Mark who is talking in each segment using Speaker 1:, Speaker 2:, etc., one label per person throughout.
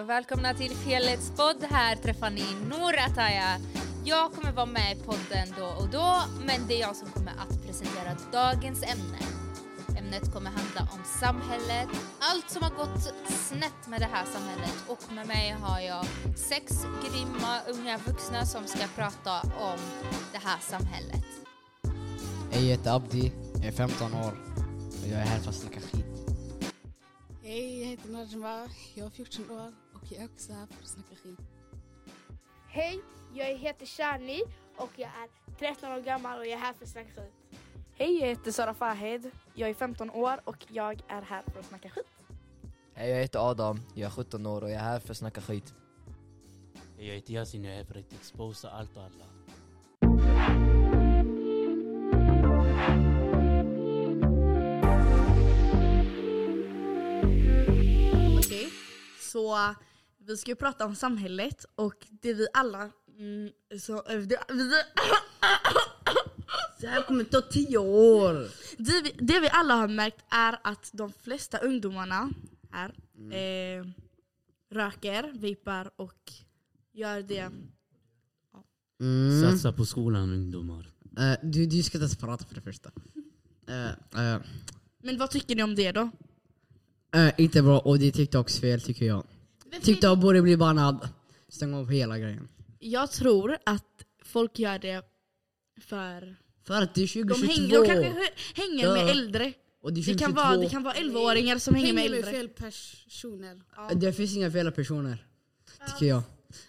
Speaker 1: och välkomna till Fjällets podd. Här träffar ni Norataya. Jag kommer vara med i podden då och då, men det är jag som kommer att presentera dagens ämne. Ämnet kommer handla om samhället, allt som har gått snett med det här samhället och med mig har jag sex grymma unga vuxna som ska prata om det här samhället.
Speaker 2: Jag heter Abdi, jag är 15 år och jag är här för att snacka skit.
Speaker 3: Hej, jag heter Najma. Jag är 14 år och jag är också här för att snacka skit.
Speaker 4: Hej, jag heter Shani och jag är 13 år gammal och jag är här för att snacka skit.
Speaker 5: Hej, jag heter Sara Fahed. Jag är 15 år och jag är här för att snacka skit.
Speaker 6: Hej, jag heter Adam, jag är 17 år och jag är här för att snacka skit.
Speaker 7: Hej, jag heter Yasin och jag är här för att exposa allt och alla.
Speaker 5: Okej, så vi ska ju prata om samhället och det vi alla... Mm, så, eh, det, vi,
Speaker 8: Det här kommer ta tio år!
Speaker 5: det, vi, det vi alla har märkt är att de flesta ungdomarna här
Speaker 8: Mm.
Speaker 5: eh, röker, vipar och gör det.
Speaker 7: Mm. Satsa på skolan ungdomar.
Speaker 2: Mm, Eh, du, du ska inte ens prata för det första. Eh, eh,
Speaker 5: Men vad tycker ni om det då?
Speaker 2: eh, inte bra och det är TikToks fel tycker jag. TikTok borde bli bannad. Stäng av hela grejen.
Speaker 5: Jag tror att folk gör det för...
Speaker 2: För att det är 2022
Speaker 5: De, hänger, de kanske hö- hänger med
Speaker 2: Ja.
Speaker 5: äldre.
Speaker 2: och det är 2022.
Speaker 5: Det kan vara, det kan vara 11-åringar som hänger med äldre.
Speaker 3: fel personer.
Speaker 2: Det finns inga fel personer. Tycker jag.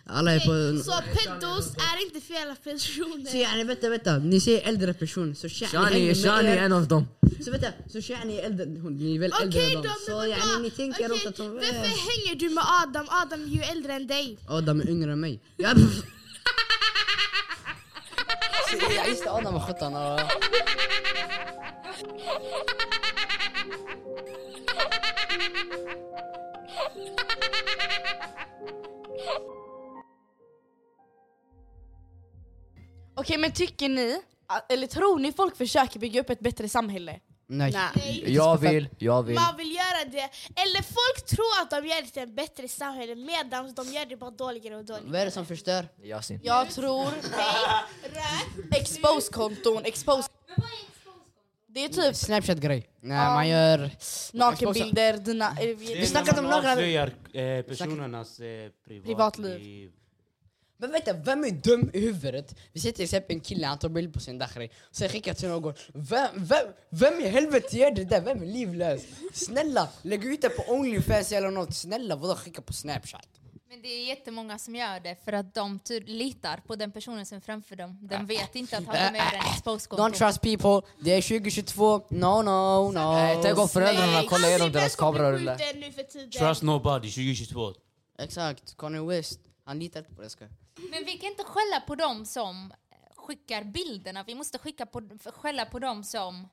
Speaker 2: Alla är på...
Speaker 4: Så pedos är inte fel personer.
Speaker 2: Så yani, vänta, vänta. Ni säger äldre person. Så Shani hänger
Speaker 6: Shani,
Speaker 2: med
Speaker 6: Shani
Speaker 2: er.
Speaker 6: är en av dem.
Speaker 2: Så vänta, så Shani är äldre. Hon ni är väl äldre
Speaker 4: Okej
Speaker 2: än
Speaker 4: då,
Speaker 2: dem.
Speaker 4: men
Speaker 2: Så
Speaker 4: vadå?
Speaker 2: yani, ni tänker
Speaker 4: Okej,
Speaker 2: åt att hon...
Speaker 4: Varför hänger du med Adam? Adam är ju äldre än dig.
Speaker 2: Adam är yngre än mig. Jag pff. Ja, Just det, Adam var 17 år.
Speaker 5: Okej men tycker ni, eller tror ni folk försöker bygga upp ett bättre samhälle?
Speaker 2: Nej.
Speaker 6: Jag vill, jag vill.
Speaker 4: Man vill göra det. Eller folk tror att de gör det till en bättre samhälle medan de gör det bara dåligare och dåligare.
Speaker 2: Vad är det som förstör?
Speaker 6: Yasin.
Speaker 5: Jag tror... Expose-konton, expose... Det är typ
Speaker 2: Snapchat-grej. Nej,
Speaker 5: Ja.
Speaker 2: man gör...
Speaker 5: nakenbilder, dina... eh, vi-
Speaker 2: Vi snackade om några-
Speaker 7: avslöjar eh, personernas eh, privatliv.
Speaker 5: Privatliv.
Speaker 2: Men vänta, vem är dum i huvudet? Vi ser till exempel en kille, han tar bild på sin dachri. Sen skickar till någon. Vem, vem, vem i helvete gör det där? Vem är livlös? Snälla, lägg ut det på Onlyfans eller något. Snälla, vadå skicka på Snapchat?
Speaker 1: Men det är jättemånga som gör det för att de ty- litar på den personen som är framför dem. De vet inte att han är med i den
Speaker 2: Don't
Speaker 1: expose-kontot.
Speaker 2: trust people. Det är 2022. No, no, no.
Speaker 6: Nej, tänk om föräldrarna kollar igenom deras kameror.
Speaker 4: kameror. nu för tiden.
Speaker 7: Trust nobody 2022.
Speaker 2: Exakt, Kanye West. Han litar inte på det. Ska.
Speaker 1: Men vi kan inte skälla på dem som skickar bilderna. Vi måste skicka på, skälla på dem som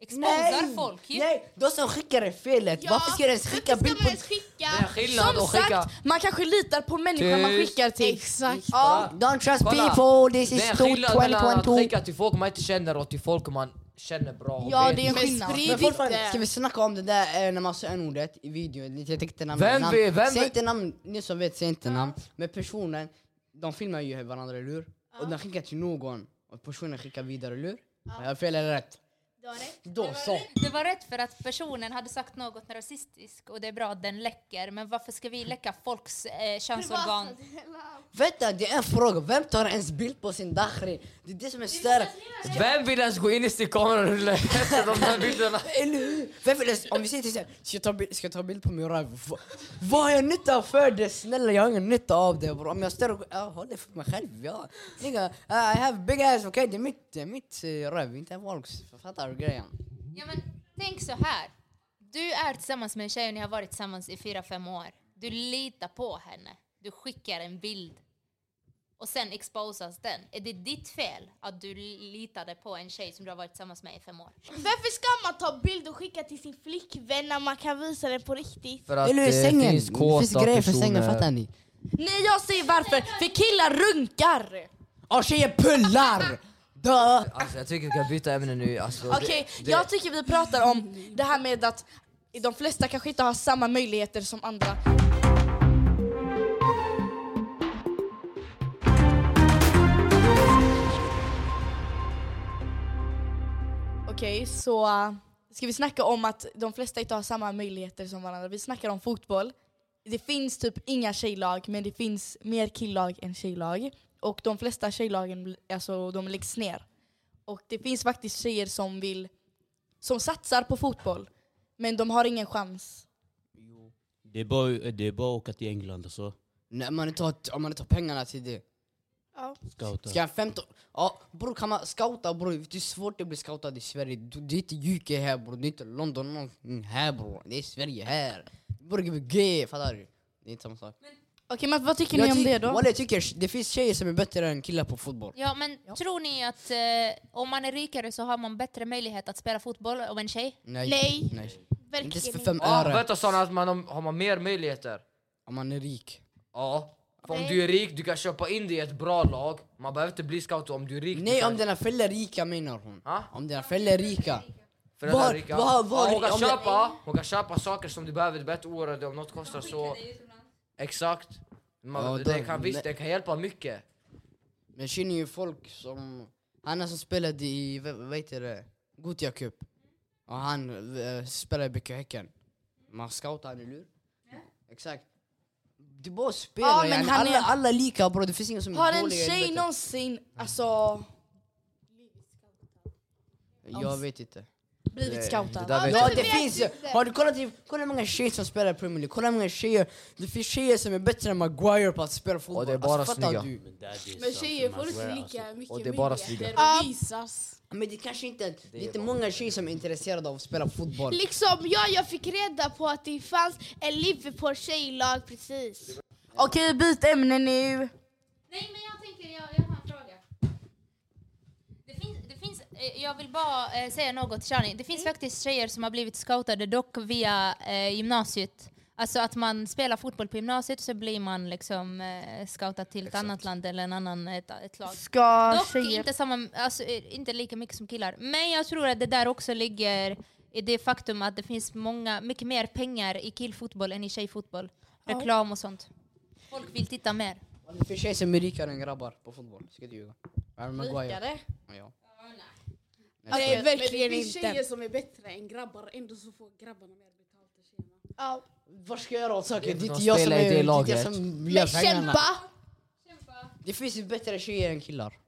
Speaker 1: exposar folk ju.
Speaker 2: Nej, de som skickar är felet.
Speaker 4: Ja,
Speaker 2: Varför ska du ens skicka
Speaker 4: varför
Speaker 2: bild
Speaker 4: ska
Speaker 2: på...
Speaker 4: man ens skicka?
Speaker 6: Skillnad
Speaker 5: Som
Speaker 6: att skicka...
Speaker 5: sagt, man kanske litar på människan man
Speaker 6: Tyst.
Speaker 5: skickar till.
Speaker 3: Exakt.
Speaker 5: Ja,
Speaker 2: Don't trust
Speaker 6: Kolla.
Speaker 2: people, this
Speaker 6: Det
Speaker 2: is
Speaker 6: är en
Speaker 2: too
Speaker 6: skillnad mellan att
Speaker 2: 2022.
Speaker 6: skicka till folk man inte känner och till folk man känner bra. och
Speaker 5: ja
Speaker 6: vet.
Speaker 5: det är en
Speaker 3: Men
Speaker 5: skillnad.
Speaker 3: sprid-
Speaker 2: Men fortfarande, ska vi snacka om det där eh, när man sa n-ordet i videon? Jag tänkte namn.
Speaker 6: Vem
Speaker 2: namn.
Speaker 6: vet- vem
Speaker 2: Säg
Speaker 6: vet-
Speaker 2: inte namn, ni som vet, säg inte namn. Men personen, de filmar ju varandra, eller hur? Och de skickar till någon. Och personen skickar vidare, eller hur? Har jag fel eller rätt?
Speaker 4: Du har rätt.
Speaker 2: Då så.
Speaker 1: Det var rätt för att personen hade sagt något rasistiskt och det är bra att den läcker. Men varför ska vi läcka folks eh, könsorgan?
Speaker 2: Vänta, det är en fråga. Vem tar ens bild på sin dachri? Det är det som är större.
Speaker 6: Vem vill ens gå in i sin kamerarullen efter de där bilderna?
Speaker 2: Eller hur? Vem vill ens- Om vi säger till exempel, ska jag ta bild, ska jag ta bild på min röv? V- Vad har jag nytta för det? Snälla jag har ingen nytta av det bror. Om jag står och... Jag håller för mig själv. Jag, nigga, I have big ass, okej det är mitt, det är mitt eh, röv, inte folks. Fattar du grejen?
Speaker 1: Ja, men tänk så här. Du är tillsammans med en tjej och ni har varit tillsammans i fyra fem år. Du litar på henne. Du skickar en bild. Och sen exposas den. Är det ditt fel att du litade på en tjej som du har varit tillsammans med i fem år?
Speaker 4: Varför ska man ta bild och skicka till sin flickvän när man kan visa den på riktigt?
Speaker 6: För att
Speaker 2: Eller hur? Sängen.
Speaker 6: finns
Speaker 2: Det finns
Speaker 6: kåta
Speaker 2: grejer för sängen,
Speaker 6: personer.
Speaker 2: fattar ni?
Speaker 5: Nej jag säger varför, för killar runkar!
Speaker 2: Och tjejer pullar! Dö!
Speaker 6: Alltså, jag tycker vi kan byta ämne nu. Alltså, det-
Speaker 5: Okej,
Speaker 6: det-
Speaker 5: jag tycker vi pratar om det här med att de flesta kanske inte har samma möjligheter som andra. Okej, så eh, ska vi snacka om att de flesta inte har samma möjligheter som varandra. Vi snackar om fotboll. Det finns typ inga tjejlag, men det finns mer killag än tjejlag. Och de flesta tjejlagen bl- alltså, de läggs ner. Och det finns faktiskt tjejer som vill som satsar på fotboll, men de har ingen chans.
Speaker 7: Det är bara, det är bara att åka till England och så.
Speaker 2: Nej, man inte har, om man inte har pengarna till det.
Speaker 4: Ja.
Speaker 7: Scouta.
Speaker 2: Ska en 15... Ja, bror kan man scouta bror? Det är svårt att bli scoutad i Sverige. Du- Det är inte UK här bror, det är inte London någonting här bror. Det är Sverige här. Bror GBG, fattar du? Det är inte samma sak.
Speaker 5: Okej, men vad tycker ni om
Speaker 2: tyck-
Speaker 5: det då?
Speaker 2: Walla, jag tycker det finns tjejer som är bättre än killar på fotboll.
Speaker 1: Ja, men tror ni att eh, om man är rikare så har man bättre möjlighet att spela fotboll om en tjej?
Speaker 2: Nej.
Speaker 4: Nej.
Speaker 2: Inte ens
Speaker 4: Verkligen
Speaker 2: för
Speaker 4: inte.
Speaker 2: fem
Speaker 6: Ja,
Speaker 2: öre.
Speaker 6: vänta sa han att man har- har man mer möjligheter?
Speaker 2: Om man är rik.
Speaker 6: Ja. För om
Speaker 4: Nej.
Speaker 6: du är rik, du kan köpa in dig i ett bra lag. Man behöver inte bli scout om du är rik. du
Speaker 2: Nej,
Speaker 6: kan...
Speaker 2: om dina föräldrar är rika menar hon.
Speaker 6: Ha?
Speaker 2: Om dina föräldrar är rika.
Speaker 6: Föräldrar är
Speaker 2: Var-
Speaker 6: rika.
Speaker 2: var- var-
Speaker 6: ja, hon, kan
Speaker 2: om det-
Speaker 6: köpa, hon kan köpa saker som du behöver, du behöver inte oroa dig om något kostar så. Exakt. Man,
Speaker 2: Ja,
Speaker 6: den
Speaker 2: då-
Speaker 6: kan visst, den kan hjälpa mycket.
Speaker 2: Men jag känner ju folk som... Han är som spelade i, vad vad heter det, Gothia Cup. Och han eh, spelade i BK Häcken. Man scoutar han, eller hur? Exakt. Det är bara spelare,
Speaker 5: Ja, men
Speaker 2: yani.
Speaker 5: han är-
Speaker 2: alla, alla är lika bror. Det finns ingen som är
Speaker 5: Har en
Speaker 2: dålig eller
Speaker 5: tjej
Speaker 2: bättre.
Speaker 5: någonsin alltså,
Speaker 2: Jag vet inte.
Speaker 5: blivit scoutad?
Speaker 6: där
Speaker 2: Ja det finns ju! Har du kollat, i- kolla hur många tjejer som spelar i Premier League, kolla hur många tjejer, det finns tjejer som är bättre än Maguire på att spela fotboll. Alltså,
Speaker 6: Och det är bara
Speaker 2: fattar
Speaker 6: snygga.
Speaker 2: du?
Speaker 7: Men, där, det är
Speaker 3: Men
Speaker 7: sant,
Speaker 3: tjejer
Speaker 6: alltså,
Speaker 7: man
Speaker 3: får inte
Speaker 7: swear,
Speaker 3: lika mycket
Speaker 6: Och det är bara
Speaker 3: möjligheter
Speaker 6: sida.
Speaker 3: att visas.
Speaker 2: Men det kanske inte, det är inte många tjejer som är intresserade av att spela fotboll.
Speaker 4: Liksom jag, jag fick reda på att det fanns en Liverpool tjejlag precis.
Speaker 5: Okej, byt ämne nu.
Speaker 1: Nej, men jag tänker, jag, jag har en fråga. Det finns, det finns, eh, jag vill bara eh, säga något, Shani. Det finns faktiskt tjejer som har blivit scoutade, dock via eh, gymnasiet. Alltså att man spelar fotboll på gymnasiet så blir man liksom eh, scoutad till ett annat land eller en annan, ett, ett lag.
Speaker 5: Ska
Speaker 1: Dock
Speaker 5: tjejer...
Speaker 1: inte, samma, alltså, eh, inte lika mycket som killar. Men jag tror att det där också ligger i det faktum att det finns många, mycket mer pengar i killfotboll än i tjejfotboll. Reklam och sånt. Folk vill titta mer.
Speaker 2: Det finns tjejer som är rikare än grabbar på fotboll, ska du ljuga. Aaron Maguire.
Speaker 5: Rikare?
Speaker 2: Ja.
Speaker 4: Nej,
Speaker 3: Men det
Speaker 4: verkligen
Speaker 3: finns tjejer
Speaker 4: inte.
Speaker 3: som är bättre än grabbar, ändå så får grabbarna mer betalt än tjejerna.
Speaker 4: Ja.
Speaker 2: Vad ska jag göra åt saken? Det är
Speaker 6: De
Speaker 2: inte jag som
Speaker 6: spelar
Speaker 2: är,
Speaker 6: i det
Speaker 2: det är inte jag
Speaker 6: laget.
Speaker 2: som
Speaker 4: Men
Speaker 2: gör pengarna.
Speaker 4: kämpa!
Speaker 2: Det finns ju bättre tjejer än killar.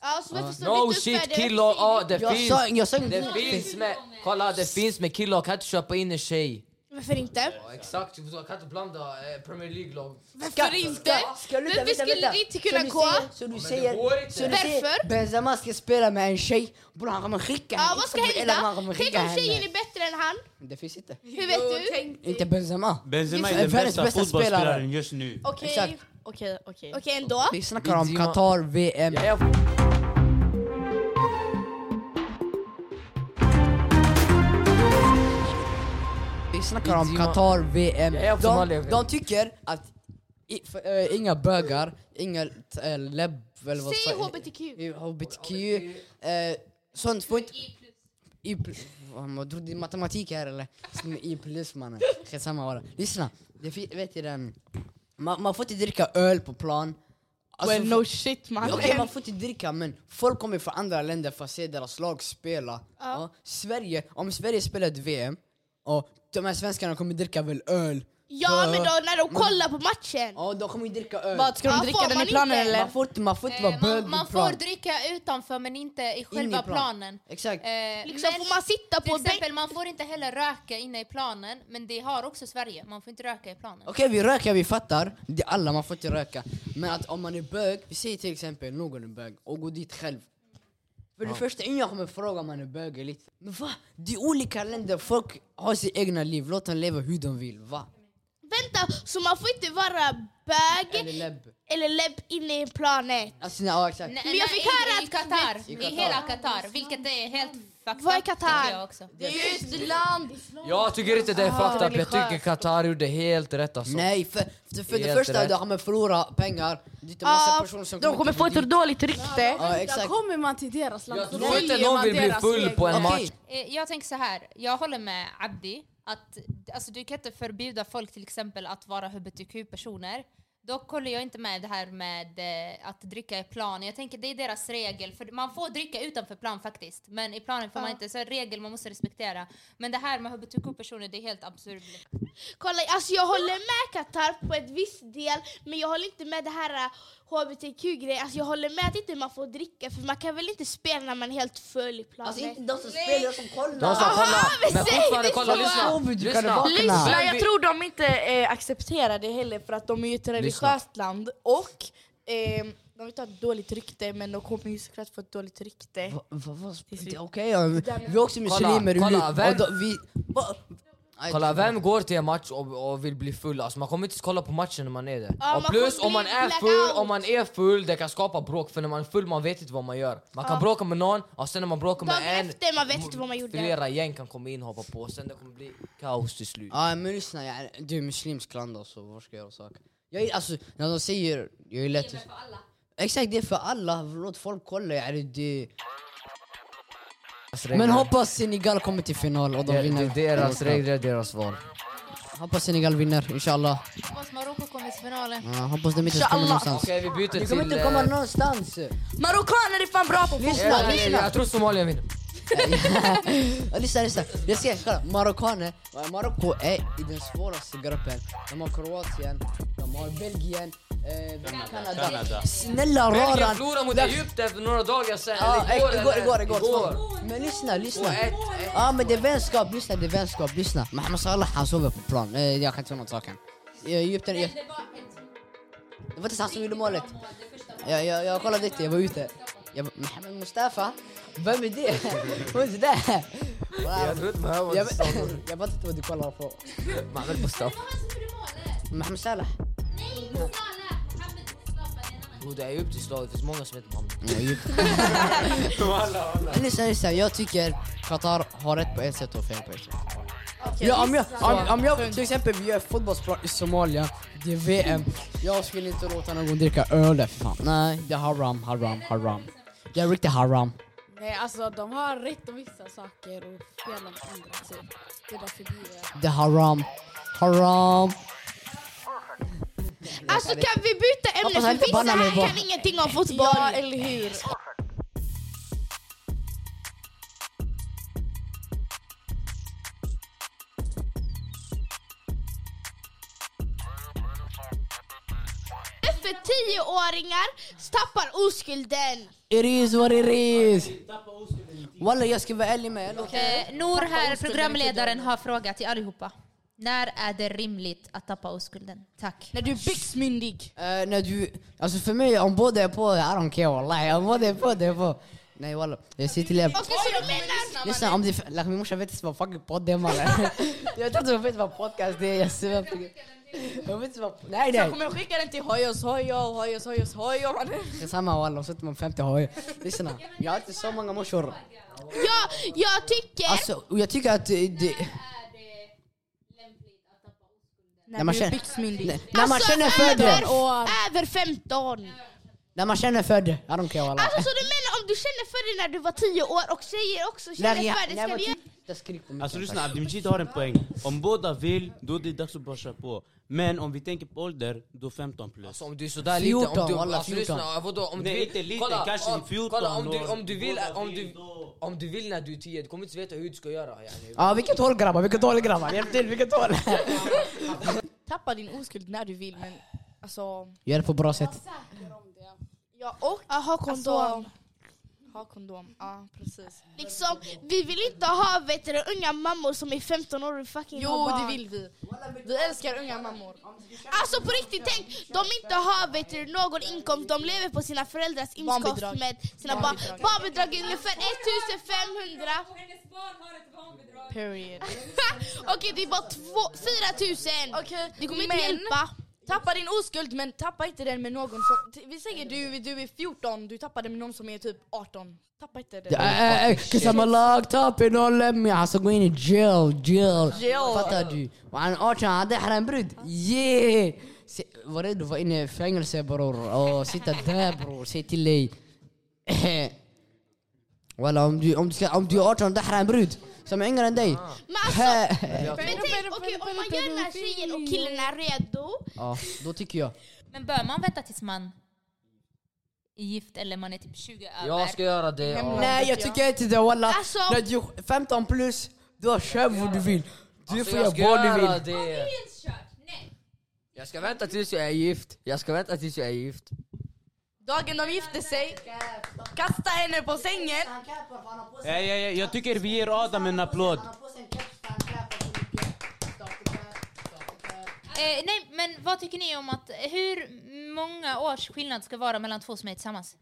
Speaker 4: Alltså,
Speaker 2: Ah.
Speaker 4: varför står du
Speaker 6: No
Speaker 4: inte upp för
Speaker 6: shit
Speaker 4: det?
Speaker 6: killar, ja det
Speaker 2: Jag
Speaker 6: finns.
Speaker 2: sa, jag sa inte...
Speaker 6: Det finns med, kolla det finns med killar, kan inte köpa in en tjej.
Speaker 4: Varför inte?
Speaker 6: Ja, exakt, jag kan inte blanda eh, Premier League-lag.
Speaker 4: Varför inte? Varför skulle det inte kunna gå?
Speaker 2: Så du
Speaker 6: det
Speaker 2: säger...
Speaker 6: går inte.
Speaker 2: Så du säger
Speaker 4: Varför?
Speaker 2: Benzema ska spela med en tjej, bror han kommer skicka
Speaker 4: Ja, vad ska
Speaker 2: Eller han kommer
Speaker 4: hända? Tänk
Speaker 2: skicka
Speaker 4: om tjejen
Speaker 2: henne.
Speaker 4: är bättre än han?
Speaker 2: Det finns inte.
Speaker 4: Hur vet
Speaker 3: Jo,
Speaker 4: du?
Speaker 3: tänk dig.
Speaker 2: Inte Benzema.
Speaker 7: Benzema
Speaker 2: Det
Speaker 7: är
Speaker 2: är
Speaker 7: den
Speaker 2: världens
Speaker 7: bästa
Speaker 2: bästa
Speaker 7: fotbollsspelaren
Speaker 2: spelare.
Speaker 7: just nu.
Speaker 5: Okej,
Speaker 2: Exakt.
Speaker 5: okej, okej.
Speaker 4: Okej, ändå.
Speaker 2: Vi snackar om
Speaker 6: Benzema.
Speaker 2: Qatar VM.
Speaker 6: Ja, jag-
Speaker 2: Vi snackar om
Speaker 6: Benzema.
Speaker 2: Qatar VM.
Speaker 6: Jag är också vanlig,
Speaker 2: De,
Speaker 6: okej.
Speaker 2: de tycker att i, för, eh, inga bögar, inga äh, läbb... Eller vad
Speaker 4: Säg
Speaker 2: sa-
Speaker 4: HBTQ.
Speaker 2: i- HBTQ. eh, sånt får inte... I plus. Vad Tror du det är matematik här eller? Som I plus mannen. Skitsamma bara. Lyssna. Det fin- vet du den... Man, man får inte dricka öl på plan. Alltså,
Speaker 5: Well no shit man.
Speaker 2: Okej man får inte dricka men folk kommer från andra länder för att se deras lag spela. Ja, Sverige, om Sverige spelar ett VM och de här svenskarna kommer dricka väl öl.
Speaker 4: Ja, men då när de
Speaker 2: Mm.
Speaker 4: kollar på matchen.
Speaker 2: Ja de kommer ju dricka öl.
Speaker 5: Vad, ska de
Speaker 4: Ja,
Speaker 1: Ah,
Speaker 5: dricka
Speaker 4: får
Speaker 5: den
Speaker 4: man
Speaker 5: i planen
Speaker 4: inte?
Speaker 5: eller?
Speaker 2: Man får inte, man får inte vara
Speaker 1: Eh,
Speaker 2: bög
Speaker 1: man,
Speaker 2: i
Speaker 1: man får
Speaker 2: plan.
Speaker 1: dricka utanför men inte i
Speaker 2: In i
Speaker 1: själva
Speaker 2: plan.
Speaker 1: planen.
Speaker 2: Exakt.
Speaker 1: Eh,
Speaker 4: Liksom
Speaker 1: men
Speaker 4: får man sitta
Speaker 1: till
Speaker 4: på bänken?
Speaker 1: exempel, man får inte heller röka inne i planen, men det har också Sverige. Man får inte röka i planen.
Speaker 2: Okej vi röker, vi fattar. Det är alla, man får inte röka. Men att om man är bög, vi säger till exempel någon är bög och går dit själv. För det första, ingen kommer fråga om man är bög eller inte. Men va? Det är olika länder, folk har sitt egna liv, låt dem leva hur de vill. Va?
Speaker 4: Vänta, så man får inte vara bög
Speaker 2: Eller läbb.
Speaker 4: eller läbb inne i planet?
Speaker 2: Alltså, nej, ja, exakt.
Speaker 1: Nej,
Speaker 4: Men jag
Speaker 1: nej,
Speaker 4: fick höra
Speaker 1: i- i Qatar,
Speaker 2: I
Speaker 1: i,
Speaker 2: Qatar.
Speaker 1: hela Qatar, vilket är helt fucked
Speaker 4: Vad är
Speaker 1: up, tycker
Speaker 4: Qatar?
Speaker 1: jag också.
Speaker 5: Det är ju ett land!
Speaker 6: Jag tycker inte det är fucked up, jag tycker Qatar gjorde helt rätt alltså.
Speaker 2: Nej, för, för, för det
Speaker 6: Helt
Speaker 2: första,
Speaker 6: rätt.
Speaker 2: de kommer förlora pengar. Det är inte massa
Speaker 5: Ja,
Speaker 2: personer som
Speaker 5: de kommer få
Speaker 2: gå dit.
Speaker 5: ett dåligt rykte.
Speaker 2: Ja,
Speaker 3: Där
Speaker 2: exakt.
Speaker 3: kommer man till deras land
Speaker 6: Jag
Speaker 3: så
Speaker 6: tror inte
Speaker 3: följer
Speaker 6: någon
Speaker 3: man
Speaker 6: vill bli
Speaker 3: deras
Speaker 6: full på en
Speaker 3: regler.
Speaker 2: Okej.
Speaker 6: match.
Speaker 1: Eh, Jag tänker så här, jag håller med Abdi. Att, alltså, du kan inte förbjuda folk till exempel att vara hbtq-personer. Dock håller jag inte med det här med eh, att dricka i plan. Jag tänker det är deras regel. För man får dricka utanför plan faktiskt. Men i planen får man inte. Så är det en regel man måste respektera. Men det här med hbtq-personer det är helt absurt.
Speaker 4: Kolla, alltså jag håller med Qatar på ett visst del, men jag håller inte med det här eh, hbtq-grejen. Alltså jag håller med att inte man får dricka, för man kan väl inte spela när man är helt full i planen?
Speaker 8: Alltså inte de som spelar, de som
Speaker 6: De som
Speaker 8: kollar.
Speaker 6: kollar,
Speaker 4: men
Speaker 6: men
Speaker 4: säg
Speaker 6: fortfarande
Speaker 4: det
Speaker 6: kolla,
Speaker 4: så.
Speaker 6: lyssna.
Speaker 2: Ovid, du kan
Speaker 6: lyssna.
Speaker 2: vara-
Speaker 6: Lyssna.
Speaker 5: Men jag tror de inte eh, accepterar det heller för att de är ju ett religiöst land och eh, de vill ha ett dåligt rykte men de kommer ju såklart få ett dåligt rykte.
Speaker 2: Va- va- va- Okej, ja, vi vi är också muslimer.
Speaker 6: kolla,
Speaker 2: Kolla,
Speaker 6: vem-
Speaker 2: kolla, vi... Va? Aj,
Speaker 6: Kolla, vem går till en match och, och vill bli full? Alltså, man kommer inte kolla på matchen när man är där.
Speaker 4: Ja,
Speaker 6: och
Speaker 4: man
Speaker 6: plus
Speaker 4: kommer
Speaker 6: om man
Speaker 4: bli
Speaker 6: är
Speaker 4: blackout.
Speaker 6: full, om man är full, det kan skapa bråk. För när man är full man vet inte vad man gör. Man kan bråka med någon och sen när man bråkar
Speaker 4: Dagen
Speaker 6: med en,
Speaker 4: efter, man vet inte vad man gjorde.
Speaker 6: flera gäng kan komma in och hoppa på. Sen det kommer bli kaos till slut.
Speaker 2: Ja men lyssna, jag, är- du är muslimskt land alltså, vad ska jag göra saker? Jag är, alltså, när de säger... Jag är lätt... Exakt, det är för alla. Låt folk kolla. Jag är, det...
Speaker 6: Deras
Speaker 2: Men
Speaker 6: regler.
Speaker 2: hoppas Senegal kommer till final och
Speaker 6: det,
Speaker 2: de
Speaker 6: det,
Speaker 2: vinner.
Speaker 6: det är deras regler, deras val.
Speaker 2: Hoppas Senegal vinner, inshallah.
Speaker 1: Hoppas Marocko kommer till finalen.
Speaker 2: Ja, hoppas de inte ens kommer någonstans.
Speaker 6: Okej, vi byter
Speaker 2: De kommer
Speaker 6: till...
Speaker 2: inte
Speaker 6: eh,
Speaker 2: komma någonstans.
Speaker 5: Marockaner är fan bra på fotboll!
Speaker 2: Lyssna,
Speaker 6: eh,
Speaker 2: lyssna.
Speaker 6: jag tror Somalia vinner.
Speaker 2: Ja, lyssna, lyssna. Jag ska kolla. Marockaner, Marocko är i den svåraste gruppen. De har Kroatien, de har Belgien, eh, Kanada.
Speaker 7: Kanada.
Speaker 2: Snälla
Speaker 6: Belgien
Speaker 2: raran.
Speaker 6: förlorade mot Egypten för några dagar sen.
Speaker 2: Ja,
Speaker 6: eller
Speaker 2: igår, igår,
Speaker 6: eller-
Speaker 2: igår, igår. Men lyssna, lyssna.
Speaker 6: Och ett-
Speaker 2: Ja men det är vänskap, lyssna det är vänskap, lyssna. Mohamed Salah han sover på plan. Eh, jag kan inte säga något saken. Egypten, det
Speaker 1: Det var ett
Speaker 2: var inte han som gjorde målet.
Speaker 1: mål, det första målet.
Speaker 2: Jag, jag, jag kollade inte, jag var ute. Jag bara, Mohamed Mustafa? Vem är det? Vad är det där?
Speaker 6: Jag
Speaker 2: Wow.
Speaker 6: trodde man hörde vad
Speaker 2: Jag
Speaker 6: du sa.
Speaker 2: vet- jag vet inte vad du kollar på.
Speaker 6: Mohamed Mustafa.
Speaker 1: Det var han som gjorde målet.
Speaker 2: Mohamed Salah.
Speaker 1: Nej, Salah! Mohammed Mustafa, det är en annan.
Speaker 6: Jo, det är upp till slaget. Det finns många som heter Mohamed.
Speaker 2: Lyssna, lyssna. Jag tycker Qatar har rätt på ett sätt och fel på ett sätt. ja, om, jag, om, om jag till exempel vi gör fotbollsplan i Somalia, det är VM. Jag skulle inte låta någon dricka öl där för fan. Nej, det är haram, haram, haram. Det är riktigt haram.
Speaker 3: Nej, alltså de har rätt om vissa saker och fel om andra. Typ. Det är därför vi är...
Speaker 2: Det är haram, haram.
Speaker 4: Alltså kan vi byta ämne?
Speaker 2: Hoppas han inte
Speaker 4: För vissa
Speaker 2: bannar mig
Speaker 4: här
Speaker 2: bara.
Speaker 4: kan ingenting om fotboll.
Speaker 5: Ja, eller hur?
Speaker 4: För tioåringar tappar oskulden.
Speaker 2: It is what it is. Walla jag ska vara ärlig med er.
Speaker 1: Eh, Nor här, programledaren, har frågat till allihopa. När är det rimligt att tappa oskulden? Tack.
Speaker 5: När du är byxmyndig.
Speaker 2: Eh, när du, alltså för mig om båda är på, I don't care wallahi. Om båda är på, det är på. Nej walla, jag säger till er.
Speaker 4: Okej, så du menar...
Speaker 2: Lyssna, om det är... Like, min morsa vet inte vad fucking podd är mannen. jag tror inte hon vet vad podcast det är, jag svär på gud. Hon vet inte vad... Nej
Speaker 5: Jag
Speaker 2: nej!
Speaker 5: kommer skicka den till Hojos, Hojo, Hojos, Hojos, Hojo.
Speaker 2: Skitsamma walla, så sitter man 50 har jag. Lyssna, jag har inte så många morsor.
Speaker 4: Jag, jag tycker...
Speaker 2: Alltså, och jag tycker att eh, det...
Speaker 5: När
Speaker 2: man
Speaker 5: du är
Speaker 2: känner-
Speaker 5: byxmyndig.
Speaker 2: När man
Speaker 4: alltså,
Speaker 2: känner för det!
Speaker 4: över, över 15.
Speaker 2: När man känner för det, I don't care walla.
Speaker 4: Alltså så du menar om du känner för det när du var 10 år och tjejer också känner
Speaker 2: Nej, jag-
Speaker 4: för det,
Speaker 2: nej,
Speaker 4: ska
Speaker 2: men
Speaker 4: vi göra
Speaker 2: typ- Jag skriker på
Speaker 7: Alltså
Speaker 2: mycket.
Speaker 7: lyssna, Abdelmajid har en poäng. Om båda vill, då är det dags att brorsa på. Men om vi tänker på ålder, då 15 plus.
Speaker 6: Alltså om du är sådär liten,
Speaker 2: 14,
Speaker 6: om du,
Speaker 2: wallah,
Speaker 6: alltså,
Speaker 2: 14.
Speaker 6: lyssna, vadå, om
Speaker 7: Nej,
Speaker 6: du vill,
Speaker 7: inte liten, kanske
Speaker 6: om,
Speaker 7: 14
Speaker 6: kolla, om, du,
Speaker 7: år.
Speaker 6: om, du vill,
Speaker 7: Båda
Speaker 6: om,
Speaker 7: vill
Speaker 6: du,
Speaker 7: då.
Speaker 6: om du vill när du är 10, du kommer inte veta hur du ska göra. Yani.
Speaker 2: Ja, vilket håll grabbar, vilket håll grabbar? Hjälp till, vilket håll?
Speaker 5: Tappa din oskuld när du vill men alltså...
Speaker 2: Gör det på bra sätt.
Speaker 5: Ja och...
Speaker 4: Jaha, kondom.
Speaker 5: Alltså, ha kondom, ja precis.
Speaker 4: liksom, vi vill inte ha vet du, unga mammor som är 15 år och fucking
Speaker 5: Jo
Speaker 4: har barn.
Speaker 5: det vill vi. Vi älskar unga mammor.
Speaker 4: Alltså på riktigt, tänk, de inte har vet du, någon inkomst, de lever på sina föräldrars inkomst
Speaker 5: Barnbidrag.
Speaker 4: med sina barn.
Speaker 5: Barnbidrag.
Speaker 4: Barnbidrag är ungefär 1500.
Speaker 5: Period.
Speaker 4: Okej, det är bara två, 4000.
Speaker 5: Okej,
Speaker 4: Det kommer inte
Speaker 5: men-
Speaker 4: hjälpa.
Speaker 5: Tappa din oskuld men tappa inte den med någon som... t- Vi säger du, du är 14, du tappar den med någon som är typ 18. Tappa inte den.
Speaker 2: Uh, Cause I'm a locked up and don't let me Alltså gå in i jail, jail.
Speaker 5: Jail.
Speaker 2: Fattar du? oh, Och han är 18, han hade en brud. Yeah! Se- Var redo att vara inne i fängelse bror. Och sitta där bror, säg till dig. Walla om du, om du, ska, om du är 18 dahra en brud. som är yngre än dig.
Speaker 4: Men alltså,
Speaker 2: He-
Speaker 6: Jag-
Speaker 4: men tänk, okej, om man gör den här tjejen och killen är redo.
Speaker 2: ja, då tycker jag.
Speaker 1: Men bör man vänta tills man är gift eller man är typ 20 över?
Speaker 6: Jag ska göra det. ja.
Speaker 2: Nej jag tycker inte det walla.
Speaker 4: Alltså-
Speaker 2: När du är 15 plus, du har köp vad du vill. Du
Speaker 6: Alltså,
Speaker 2: får
Speaker 6: jag
Speaker 2: göra
Speaker 6: ska
Speaker 2: vad du
Speaker 6: göra
Speaker 2: vill.
Speaker 6: det. Jag ska vänta tills jag är gift. Jag ska vänta tills jag är gift.
Speaker 5: Dagen de gifte sig, kasta henne på sängen.
Speaker 7: Ja, ja, ja, jag tycker vi ger Adam en applåd.
Speaker 1: Eh, nej, men vad tycker ni om att hur många års skillnad ska vara mellan två som är tillsammans?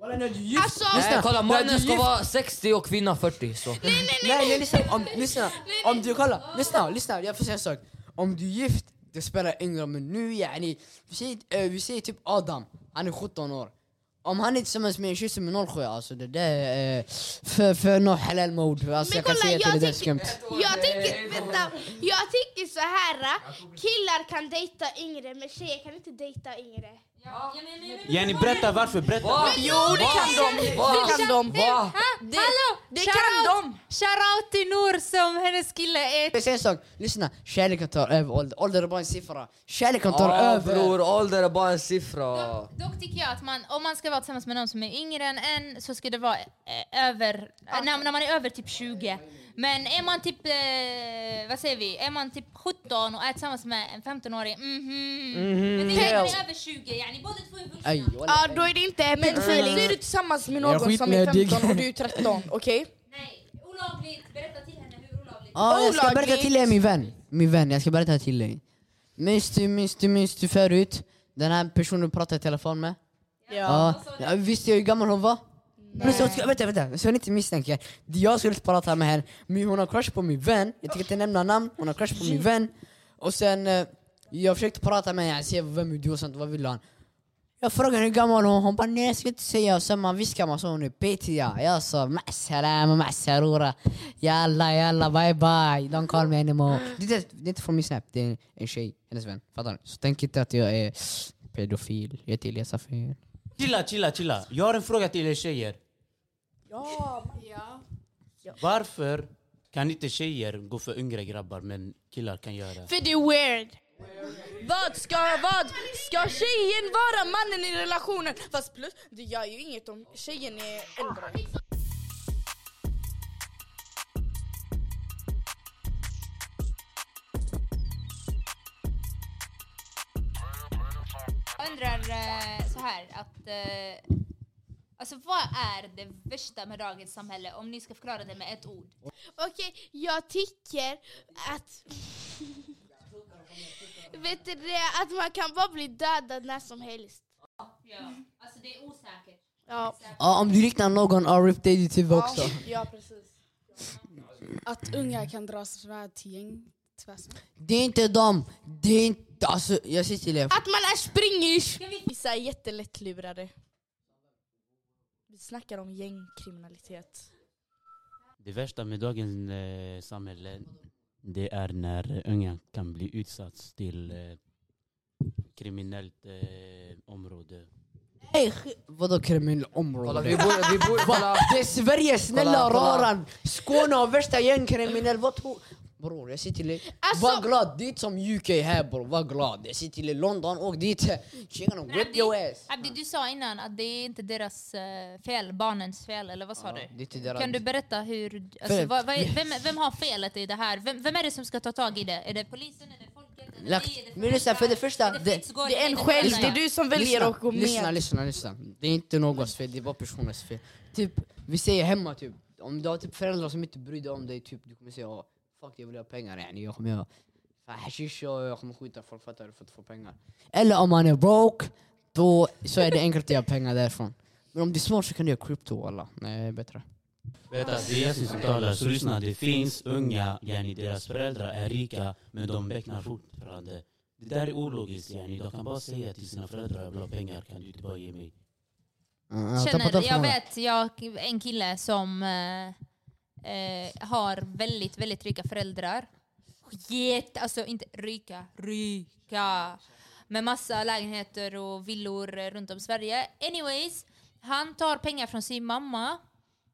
Speaker 2: Walla när du är gift.
Speaker 4: Alltså,
Speaker 6: Nej kolla
Speaker 2: när du är
Speaker 6: mannen ska
Speaker 2: gift-
Speaker 6: vara 60 och kvinnan 40 så.
Speaker 2: Nej nej lyssna, om, lyssna. Om du kolla, lyssna, lyssna, jag får säga en sak. Om du är gift, det spelar ingen roll. Men nu yani, vi säger, eh, vi säger typ Adam, han är 17 år. Om han är tillsammans med en tjej som är 07, alltså det där är eh, för, för något halal mord. Alltså,
Speaker 4: Men
Speaker 2: jag kan
Speaker 4: kolla,
Speaker 2: säga till det där
Speaker 4: jag
Speaker 2: är skumt.
Speaker 4: jag tycker, vänta, jag tycker så här. äh, Killar kan dejta yngre men tjejer kan inte dejta yngre.
Speaker 7: Jenny, berätta varför. Berätta.
Speaker 6: Va?
Speaker 5: Jo, det kan de. Det kan de.
Speaker 6: Va?
Speaker 5: Det,
Speaker 1: Hallå!
Speaker 5: det kan
Speaker 1: Shoutout!
Speaker 5: de.
Speaker 1: Shoutout till Nour som hennes kille är...
Speaker 2: Jag säger en sak, lyssna. Kärleken tar över ålder. Ålder är bara en siffra. Kärleken tar
Speaker 6: Ja
Speaker 2: över.
Speaker 6: bror, ålder är bara en siffra.
Speaker 1: Dock, dock tycker jag att man, om man ska vara tillsammans med någon som är yngre än en så ska det vara eh, över, när, när man är över typ 20. Men är man typ, eh, vad säger vi, är man typ 17 och är tillsammans med en 15-åring, mhm. Men det är när man är över 20, yani båda två är vuxna.
Speaker 2: Aj, walla.
Speaker 4: Ja, då är det inte
Speaker 5: Men så är du tillsammans med någon som är
Speaker 2: skitnödig.
Speaker 5: 15 och du är 13, okej?
Speaker 1: Nej, olagligt. Berätta till henne hur olagligt.
Speaker 2: Ja, jag ska berätta
Speaker 5: Olagligt.
Speaker 2: till dig min vän. Min vän, jag ska berätta till dig. Minns du, minns du, minns du förut? Den här personen du pratade i telefon med? Ja. ja. Visste jag hur gammal hon var? Plus, hon ska, vänta, vänta. Så ni inte misstänker. Jag skulle prata med henne, men hon har crush på min vän. Jag tänker inte nämna namn. Hon har crush på min vän. Och sen, eh, jag försökte prata med henne, se vem är du och sånt, vad vill han? Jag frågade hur gammal hon Hon bara nej jag ska inte säga. Och sen man viskar man så hon är petig ja. Jag sa ma'assalama ma'assalura. Jalla jalla bye bye. Don't call me anymore. Det är, det är inte från min snap. Det är en tjej, hennes vän. Fattar ni? Så tänk inte att jag är pedofil. Jag heter Elias Safir.
Speaker 7: Chilla, chilla, chilla. Jag har en fråga till er tjejer.
Speaker 3: Ja.
Speaker 7: Varför kan inte tjejer gå för yngre grabbar men killar kan göra?
Speaker 4: För det är weird.
Speaker 5: Vad ska, vad ska tjejen vara mannen i relationen? Fast plus, det gör ju inget om tjejen är äldre.
Speaker 1: Jag undrar eh, så här att... Eh, alltså vad är det värsta med dagens samhälle om ni ska förklara det med ett ord?
Speaker 4: Okej, jag tycker att... Vet du det? Att man kan bara bli dödad när som helst.
Speaker 1: Ja, alltså det är osäkert.
Speaker 4: Ja.
Speaker 2: Ja om du liknar någon, ja RIP dig till TV också.
Speaker 5: Ja, precis.
Speaker 3: Att unga kan dra svärd till gäng. tvärs.
Speaker 2: Det är inte dem. Det är inte... Alltså jag säger till er.
Speaker 4: Att man är springers.
Speaker 5: Vissa är jättelättlurade. Vi snackar om gängkriminalitet.
Speaker 7: Det värsta med dagens eh, samhälle det är när unga kan bli utsatt till eh, kriminellt eh, område.
Speaker 2: Hey, vadå kriminell
Speaker 6: Kolla
Speaker 2: område?
Speaker 6: vi borde, vi borde, kolla.
Speaker 2: Det är Sverige, snälla
Speaker 6: Kolla, kolla.
Speaker 2: raran! Skåne har värsta gängkriminell, vad tror... Bror jag säger till dig,
Speaker 4: Alltså-
Speaker 2: var glad, det är inte som UK här bror, var glad. Jag säger till dig, London, åk dit. Tjejerna, whip your ass.
Speaker 1: Abdi, Ah, du sa innan att det är inte deras eh, fel, barnens fel, eller vad sa du?
Speaker 2: Det är inte deras-
Speaker 1: Kan du berätta hur... Alltså,
Speaker 2: Fel.
Speaker 1: vad, vad är, vem, vem har felet i det här? Vem, vem är det som ska ta tag i det? Är det polisen? Är det folket? Är det
Speaker 2: Lagt-
Speaker 1: vi? Är det
Speaker 2: Men lyssna, för det
Speaker 1: föräldrar?
Speaker 2: första,
Speaker 1: Är
Speaker 2: det-
Speaker 1: fritidsgården?
Speaker 5: Det är en
Speaker 1: någon
Speaker 5: själv,
Speaker 1: annan?
Speaker 5: det är du som väljer
Speaker 2: Lyssna,
Speaker 5: att gå
Speaker 2: lyssna,
Speaker 5: med.
Speaker 2: lyssna, lyssna. Det är inte någons fel, det är bara personens fel. Typ, vi säger hemma typ, om du har typ föräldrar som inte bryr dig om dig, typ, du kommer säga "Åh, fuck jag vill ha pengar yani, jag kommer göra fan, hashish och jag kommer skjuta folk fattar du, för att få pengar. Eller om man är broke, då så är det enkelt att göra pengar därifrån. Men om du är smart så kan du göra krypto alla. Nej, bättre.
Speaker 7: Vänta, det är Yasin som talar. Så lyssna, det finns unga, yani deras föräldrar är rika men de becknar fortfarande. Det där är ologiskt yani. De kan bara säga till sina föräldrar jag vill ha pengar, kan du inte bara ge mig?
Speaker 2: Mm, ja, tappa den
Speaker 1: känner, jag
Speaker 2: frågan.
Speaker 1: vet jag, en kille som eh, eh, har väldigt, väldigt rika föräldrar. Jätte, alltså inte rika, rika. Med massa lägenheter och villor eh, runt om Sverige. Anyways, han tar pengar från sin mamma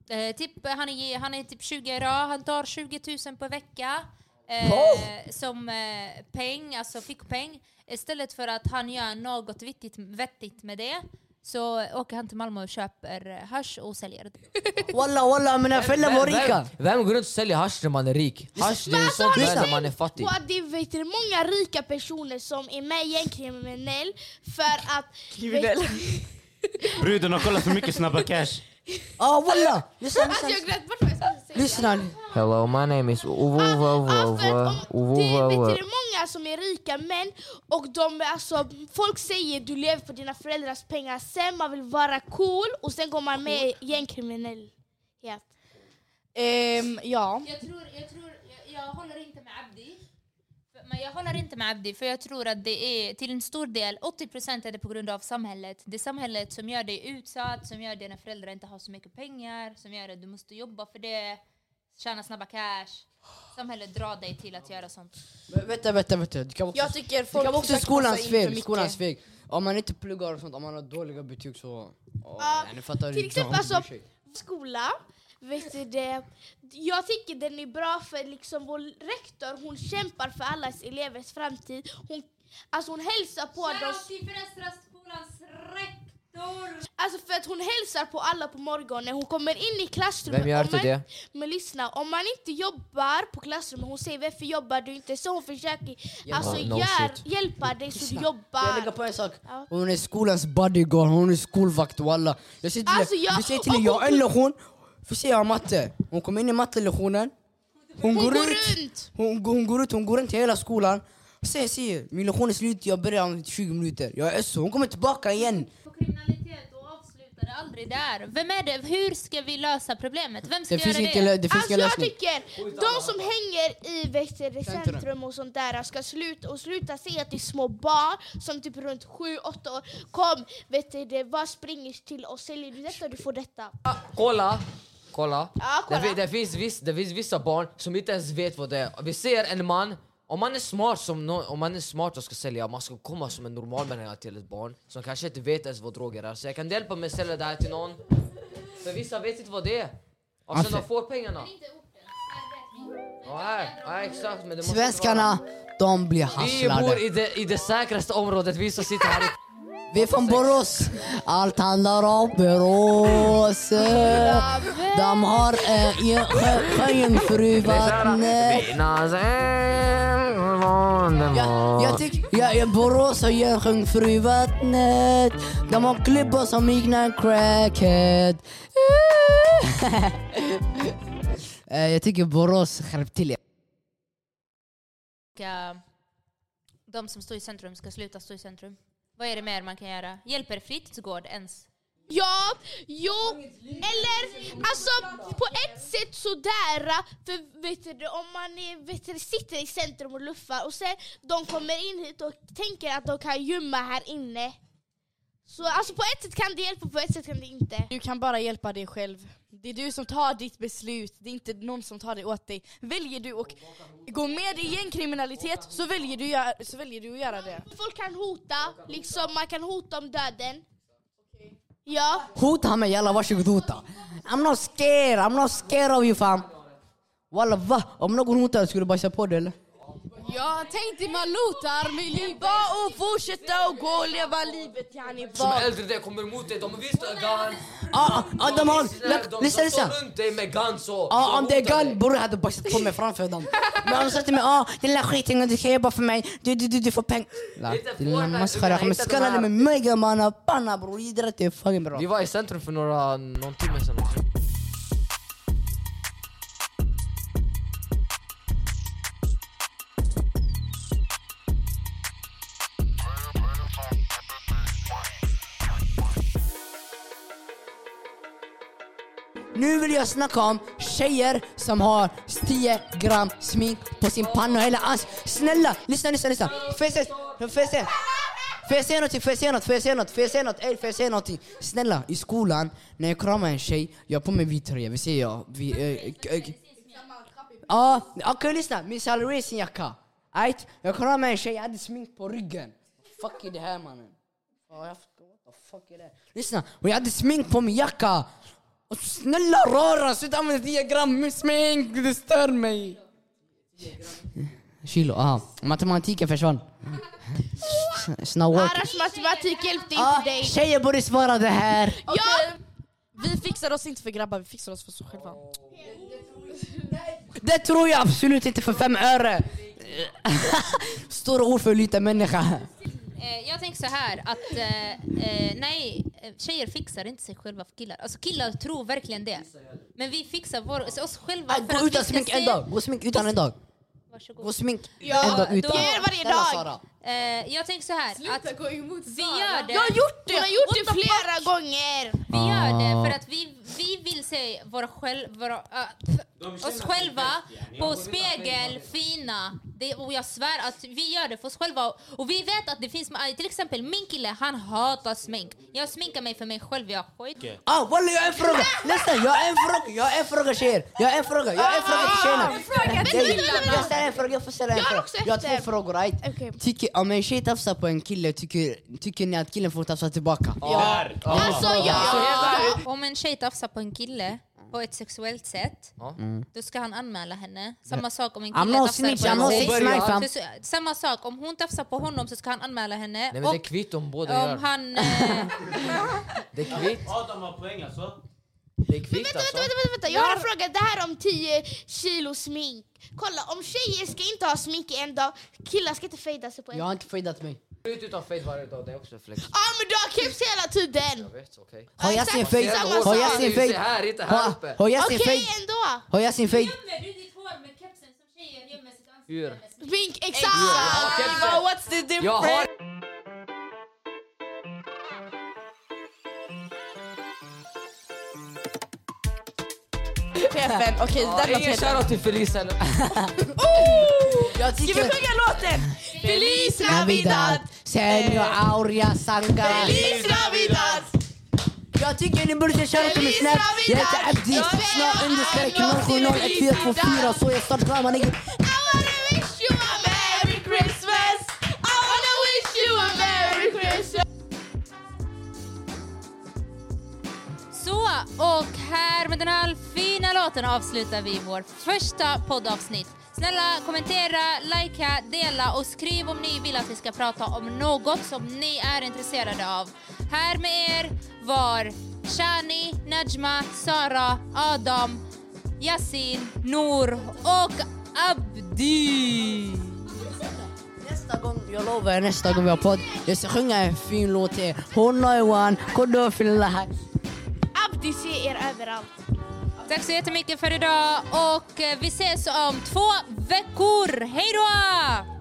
Speaker 1: Eh, typ, han, är, han är typ 20 idag, han tar 20 000 per vecka eh, som eh, peng, alltså fickpeng. Istället för att han gör något vettigt, vettigt med det så åker han till Malmö och köper eh, hasch och säljer det.
Speaker 2: Walla walla mina föräldrar var rika.
Speaker 9: Vem, vem går runt och säljer hasch när man är rik? Hasch det är sånt
Speaker 4: du
Speaker 9: värde när
Speaker 4: tänkt
Speaker 9: man är fattig.
Speaker 4: Och att det är vet du, många rika personer som är med i en kriminell för att... Kriminell?
Speaker 7: Bror den har kollat för mycket Snabba Cash.
Speaker 2: Ja walla! Lyssna,
Speaker 4: Alltså jag grät bort vad jag skulle säga.
Speaker 2: lyssna. nu.
Speaker 9: Hello my name is
Speaker 4: Ah,
Speaker 9: Uvuva
Speaker 4: ah, för
Speaker 9: Uvuva
Speaker 4: att om- Det är vet du, det
Speaker 9: Uvuva
Speaker 4: är många som är rika män och de är alltså, folk säger du lever på dina föräldrars pengar sen man vill vara cool och sen går man med i gängkriminell. Ja.
Speaker 5: Ehm, ja.
Speaker 1: Jag tror, jag tror, jag, jag håller inte med Abdi. För- Men jag håller inte med Abdi för jag tror att det är till en stor del, 80% är det på grund av samhället. Det är samhället som gör dig utsatt, som gör dina föräldrar inte har så mycket pengar, som gör att du måste jobba för det, tjäna snabba cash. Samhället drar dig till att göra sånt.
Speaker 2: Men Vänta vänta vänta. Du kan också,
Speaker 5: Jag tycker
Speaker 2: det
Speaker 5: folk
Speaker 2: kan också
Speaker 5: försöker
Speaker 2: skolans
Speaker 5: passa in för
Speaker 2: fel.
Speaker 5: mycket.
Speaker 2: Skolans fel. Om man inte pluggar och sånt, om man har dåliga betyg så... Oh,
Speaker 4: Ja,
Speaker 2: ni fattar
Speaker 4: till
Speaker 2: det.
Speaker 4: exempel,
Speaker 2: Don't bry
Speaker 4: alltså-
Speaker 2: sig.
Speaker 4: skola. Vet du det? Jag tycker den är bra för liksom vår rektor hon kämpar för allas elevers framtid. Hon, alltså hon hälsar på dem.
Speaker 1: till Västra skolans rektor!
Speaker 4: Alltså för att hon hälsar på alla på morgonen. Hon kommer in i klassrummet.
Speaker 9: Vem gör
Speaker 4: Om
Speaker 9: inte
Speaker 4: man-
Speaker 9: det?
Speaker 4: Men lyssna, om man inte jobbar på klassrummet, hon säger varför jobbar du inte? Så hon försöker alltså,
Speaker 9: Ja, no shit.
Speaker 4: gör, hjälpa dig så du
Speaker 2: Jag lägger
Speaker 4: jobbar.
Speaker 2: på en sak.
Speaker 4: Ja.
Speaker 2: Hon är skolans bodyguard, hon är skolvakt walla. Jag säger till
Speaker 4: Alltså,
Speaker 2: dig,
Speaker 4: jag-
Speaker 2: jag... säger till dig, jag har en lektion. Får se, jag har matte. Hon kommer in i mattelektionen. Hon,
Speaker 4: Hon går runt!
Speaker 2: Hon, går- hon går ut, hon går runt i hela skolan. Sen jag säger, min lektion är slut, jag börjar om 20 minuter. Jag är SO, hon kommer tillbaka igen.
Speaker 1: På kriminalitet och avslutar det aldrig där. Vem är det? Hur ska vi lösa problemet? Vem ska
Speaker 2: Det finns
Speaker 1: göra
Speaker 2: inte
Speaker 1: det?
Speaker 2: lö- det finns
Speaker 4: Alltså
Speaker 2: inga
Speaker 4: jag
Speaker 2: lösning.
Speaker 4: tycker, de som hänger i Västerås
Speaker 2: Centrum.
Speaker 4: centrum och sånt där ska sluta och sluta säga till små barn som typ runt 7-8 år, kom vet du det, vad springer till och säljer du detta du får detta.
Speaker 9: Ah, Kolla! Kolla.
Speaker 4: Ja, kolla.
Speaker 9: Det, fi- det, finns viss, det finns vissa barn som inte ens vet vad det är. Vi ser en man, om man är smart som nå- om man är smart och ska sälja, man ska komma som en normal människa till ett barn som kanske inte vet ens vad droger är. Så jag kan hjälpa mig att sälja det här till någon. För vissa vet inte vad det är. Och sen de får pengarna. Ja, här. ja exakt. Men det måste
Speaker 2: Svenskarna, de blir
Speaker 9: vara- Vi bor
Speaker 2: hasslade.
Speaker 9: i det, i det säkraste området, vi som sitter här i...
Speaker 2: Vi är från Borås. Allt handlar om Borås. De har eh, Sjöjungfruvattnet. Jag, jag tycker, jag, jag Borås och Jönköping Fruvattnet. De har klubbor som liknar crackhead. Eh, jag tycker Borås, skärp till er.
Speaker 1: ska de som står i centrum ska sluta stå i centrum. Vad är det mer man kan göra? Hjälper fritidsgård ens?
Speaker 4: Ja, jo, eller alltså på ett sätt sådär. För vet du, om man är, vet du, sitter i centrum och luffar och sen de kommer in hit och tänker att de kan gymma här inne. Så alltså på ett sätt kan det hjälpa, på ett sätt kan det inte.
Speaker 5: Du kan bara hjälpa dig själv. Det är du som tar ditt beslut, det är inte någon som tar det åt dig. Väljer du att gå med i gängkriminalitet så väljer du, gö- så väljer du att göra det.
Speaker 4: Folk kan hota, liksom man kan hota om döden. Ja.
Speaker 2: Hota mig jalla, varsågod hota. I'm not scared, I'm not scared of you fam. Walla va? Om någon hotade skulle du bajsa på det eller?
Speaker 3: Jag tänkte man lotar miljoner.
Speaker 5: Bara att fortsätta och gå och leva livet yani.
Speaker 9: Som
Speaker 5: Bara-
Speaker 9: är äldre än dig kommer emot dig, de är visst guns.
Speaker 2: Ah, ah, de har...
Speaker 9: De
Speaker 2: Lyssna,
Speaker 9: som
Speaker 2: lyssna.
Speaker 9: står runt dig med guns och...
Speaker 2: Ja, om det är
Speaker 9: hotar
Speaker 2: gun,
Speaker 9: dig.
Speaker 2: bror hade bajsat på mig framför dem. Men om de sa till mig, ja den lilla skitungen du kan jobba för mig, du, du, du, du får pengar.
Speaker 9: Inte
Speaker 2: Den
Speaker 9: får
Speaker 2: lilla
Speaker 9: mig,
Speaker 2: maskhar, jag
Speaker 9: du
Speaker 2: kommer
Speaker 9: hittar de
Speaker 2: skalla dig
Speaker 9: här.
Speaker 2: med megamanna panna bror, idrott är fucking bra.
Speaker 9: Vi var i centrum för några, någon timme sedan.
Speaker 2: Nu vill jag snacka om tjejer som har 10 gram smink på sin panna och hela ansiktet. Snälla, lyssna, lyssna, lyssna. Får jag se? Får jag se? Får jag säga någonting? Får jag säga något? Får jag säga något? Får jag säga något? Ey, får jag säga någonting? Snälla, i skolan, när jag kramar en tjej, jag har på mig vit tröja. Vi säger jag... Vi, eh, k- eh, Ja, okej lyssna. Min Salary är sin jacka. Right? Jag kramade en tjej, jag hade smink på ryggen. Fuck är det här mannen? Ja, jag förstår. What the fuck är det här? Lyssna, och jag hade smink på min jacka. Och Snälla röra, sluta använda 10 gram smink, det stör mig. Kilo, aha. Matematiken försvann. Snow work.
Speaker 4: Arash matematik hjälpte inte
Speaker 2: Ah,
Speaker 4: dig.
Speaker 2: tjejer borde svara det här.
Speaker 5: Okej. Vi fixar oss inte för grabbar, vi fixar oss för oss själva.
Speaker 2: Det tror jag absolut inte för fem öre. Stora ord för en liten människa.
Speaker 1: Eh, jag tänker så här att eh, eh, nej, eh, tjejer fixar inte sig själva för killar. Alltså killar tror verkligen det. Men vi fixar vår, alltså, oss själva
Speaker 2: Ah,
Speaker 1: att
Speaker 2: Gå utan
Speaker 1: vi ska
Speaker 2: smink en
Speaker 1: se-
Speaker 2: dag. Gå smink utan en dag.
Speaker 1: Varsågod.
Speaker 2: Gå smink
Speaker 1: Ja,
Speaker 2: en dag
Speaker 1: då-
Speaker 2: utan.
Speaker 1: jag gör
Speaker 4: varje
Speaker 2: Snälla,
Speaker 4: dag.
Speaker 2: Sara.
Speaker 1: Eh, jag tänker så här att
Speaker 3: gå emot
Speaker 1: vi gör det.
Speaker 4: Jag har gjort det! Hon har gjort det flera gånger!
Speaker 1: Vi gör det för att vi, vi vill se våra själv, våra, äh, oss själva på spegel fina. Det, och jag svär att vi gör det för oss själva. Och vi vet att det finns, äh, till exempel min kille, han hatar smink. Jag sminkar mig för mig själv, jag skit.
Speaker 2: Ah, walla jag har en fråga! Lyssna, jag har en fråga, jag har en fråga tjejer! Jag har en fråga, jag har en fråga till tjejerna!
Speaker 4: Ah,
Speaker 2: Det är-
Speaker 4: vänta, vänta.
Speaker 2: Jag ställer en fråga, jag får ställa en
Speaker 4: Jag har
Speaker 2: fråga.
Speaker 4: också
Speaker 2: Jag har
Speaker 4: efter.
Speaker 2: två frågor, right?
Speaker 4: Okej.
Speaker 2: Tycker, om en tjej tafsar på en kille, tycker, tycker ni att killen får tafsa tillbaka?
Speaker 7: Där!
Speaker 4: Alltså ja!
Speaker 1: Om en tjej tafsar på en kille på ett sexuellt sätt, då ska han anmäla henne. Samma sak om en
Speaker 2: I'm
Speaker 1: kille
Speaker 2: not
Speaker 1: tafsar
Speaker 2: snitch, I'm
Speaker 1: på
Speaker 2: not
Speaker 1: en
Speaker 2: six nine fam.
Speaker 1: Så- så- Samma sak, om hon tafsar på honom så ska han anmäla henne.
Speaker 9: Nej men det är
Speaker 1: och
Speaker 9: kvitt om båda
Speaker 1: om
Speaker 9: gör.
Speaker 1: han... Eh,
Speaker 9: Det är kvitt,
Speaker 7: Adam har poäng alltså.
Speaker 9: det är kvitt
Speaker 4: Vänta, vänta,
Speaker 9: alltså.
Speaker 4: vänta, vänta, vänta. jag har en fråga. Det här om 10 kilo smink. Kolla, om tjejer ska inte ha smink i en dag, killar ska inte fejda sig på en
Speaker 2: Jag
Speaker 4: dag.
Speaker 2: har inte fejdat mig.
Speaker 9: Ut utan fade varje dag, det är också flex.
Speaker 4: Ja men du har keps hela tiden!
Speaker 9: Jag vet, okej.
Speaker 2: Har jag sin fejd?
Speaker 4: samma
Speaker 2: Har
Speaker 4: sak.
Speaker 2: jag sin
Speaker 9: Det är
Speaker 2: fejd?
Speaker 9: ju här, inte här
Speaker 2: Ha-
Speaker 9: uppe.
Speaker 2: Har jag
Speaker 4: Okej
Speaker 2: sin fejd?
Speaker 4: ändå!
Speaker 2: Har jag sin fejd?
Speaker 1: Gömmer du ditt hår med kepsen som tjejer gömmer sitt
Speaker 9: Hur?
Speaker 1: ansikte?
Speaker 4: Smink, exakt!
Speaker 9: Kepsen.
Speaker 5: What's the difference?
Speaker 9: Jag har...
Speaker 5: Okej, det där
Speaker 9: Ingen
Speaker 5: låter
Speaker 9: shoutout till Felicia eller...
Speaker 2: Jag
Speaker 5: Ska vi
Speaker 2: tycker...
Speaker 5: sjunga låten? Feliz
Speaker 2: Navidad,
Speaker 5: Navidad!
Speaker 2: Senor Aurea Sangara.
Speaker 5: Feliz Navidad!
Speaker 2: Jag tycker ni borde köra till min snap. Jag heter Abdi. Snart understreck 070144 så jag startar klar mannen.
Speaker 4: I wanna wish you a merry Christmas! I wanna wish you a merry Christmas!
Speaker 1: Så, och här med den här fina låten avslutar vi vår första poddavsnitt. Snälla kommentera, likea, dela och skriv om ni vill att vi ska prata om något som ni är intresserade av. Här med er var Shani, Najma, Sara, Adam, Yasin, Noor och Abdi.
Speaker 2: Nästa gång, jag lovar er, nästa gång vi har podd, jag ska sjunga en fin låt till er. Honna Johan, koddo fillah.
Speaker 4: Abdi ser er överallt.
Speaker 1: Tack så jättemycket för idag och eh, vi ses om två veckor. Hej då!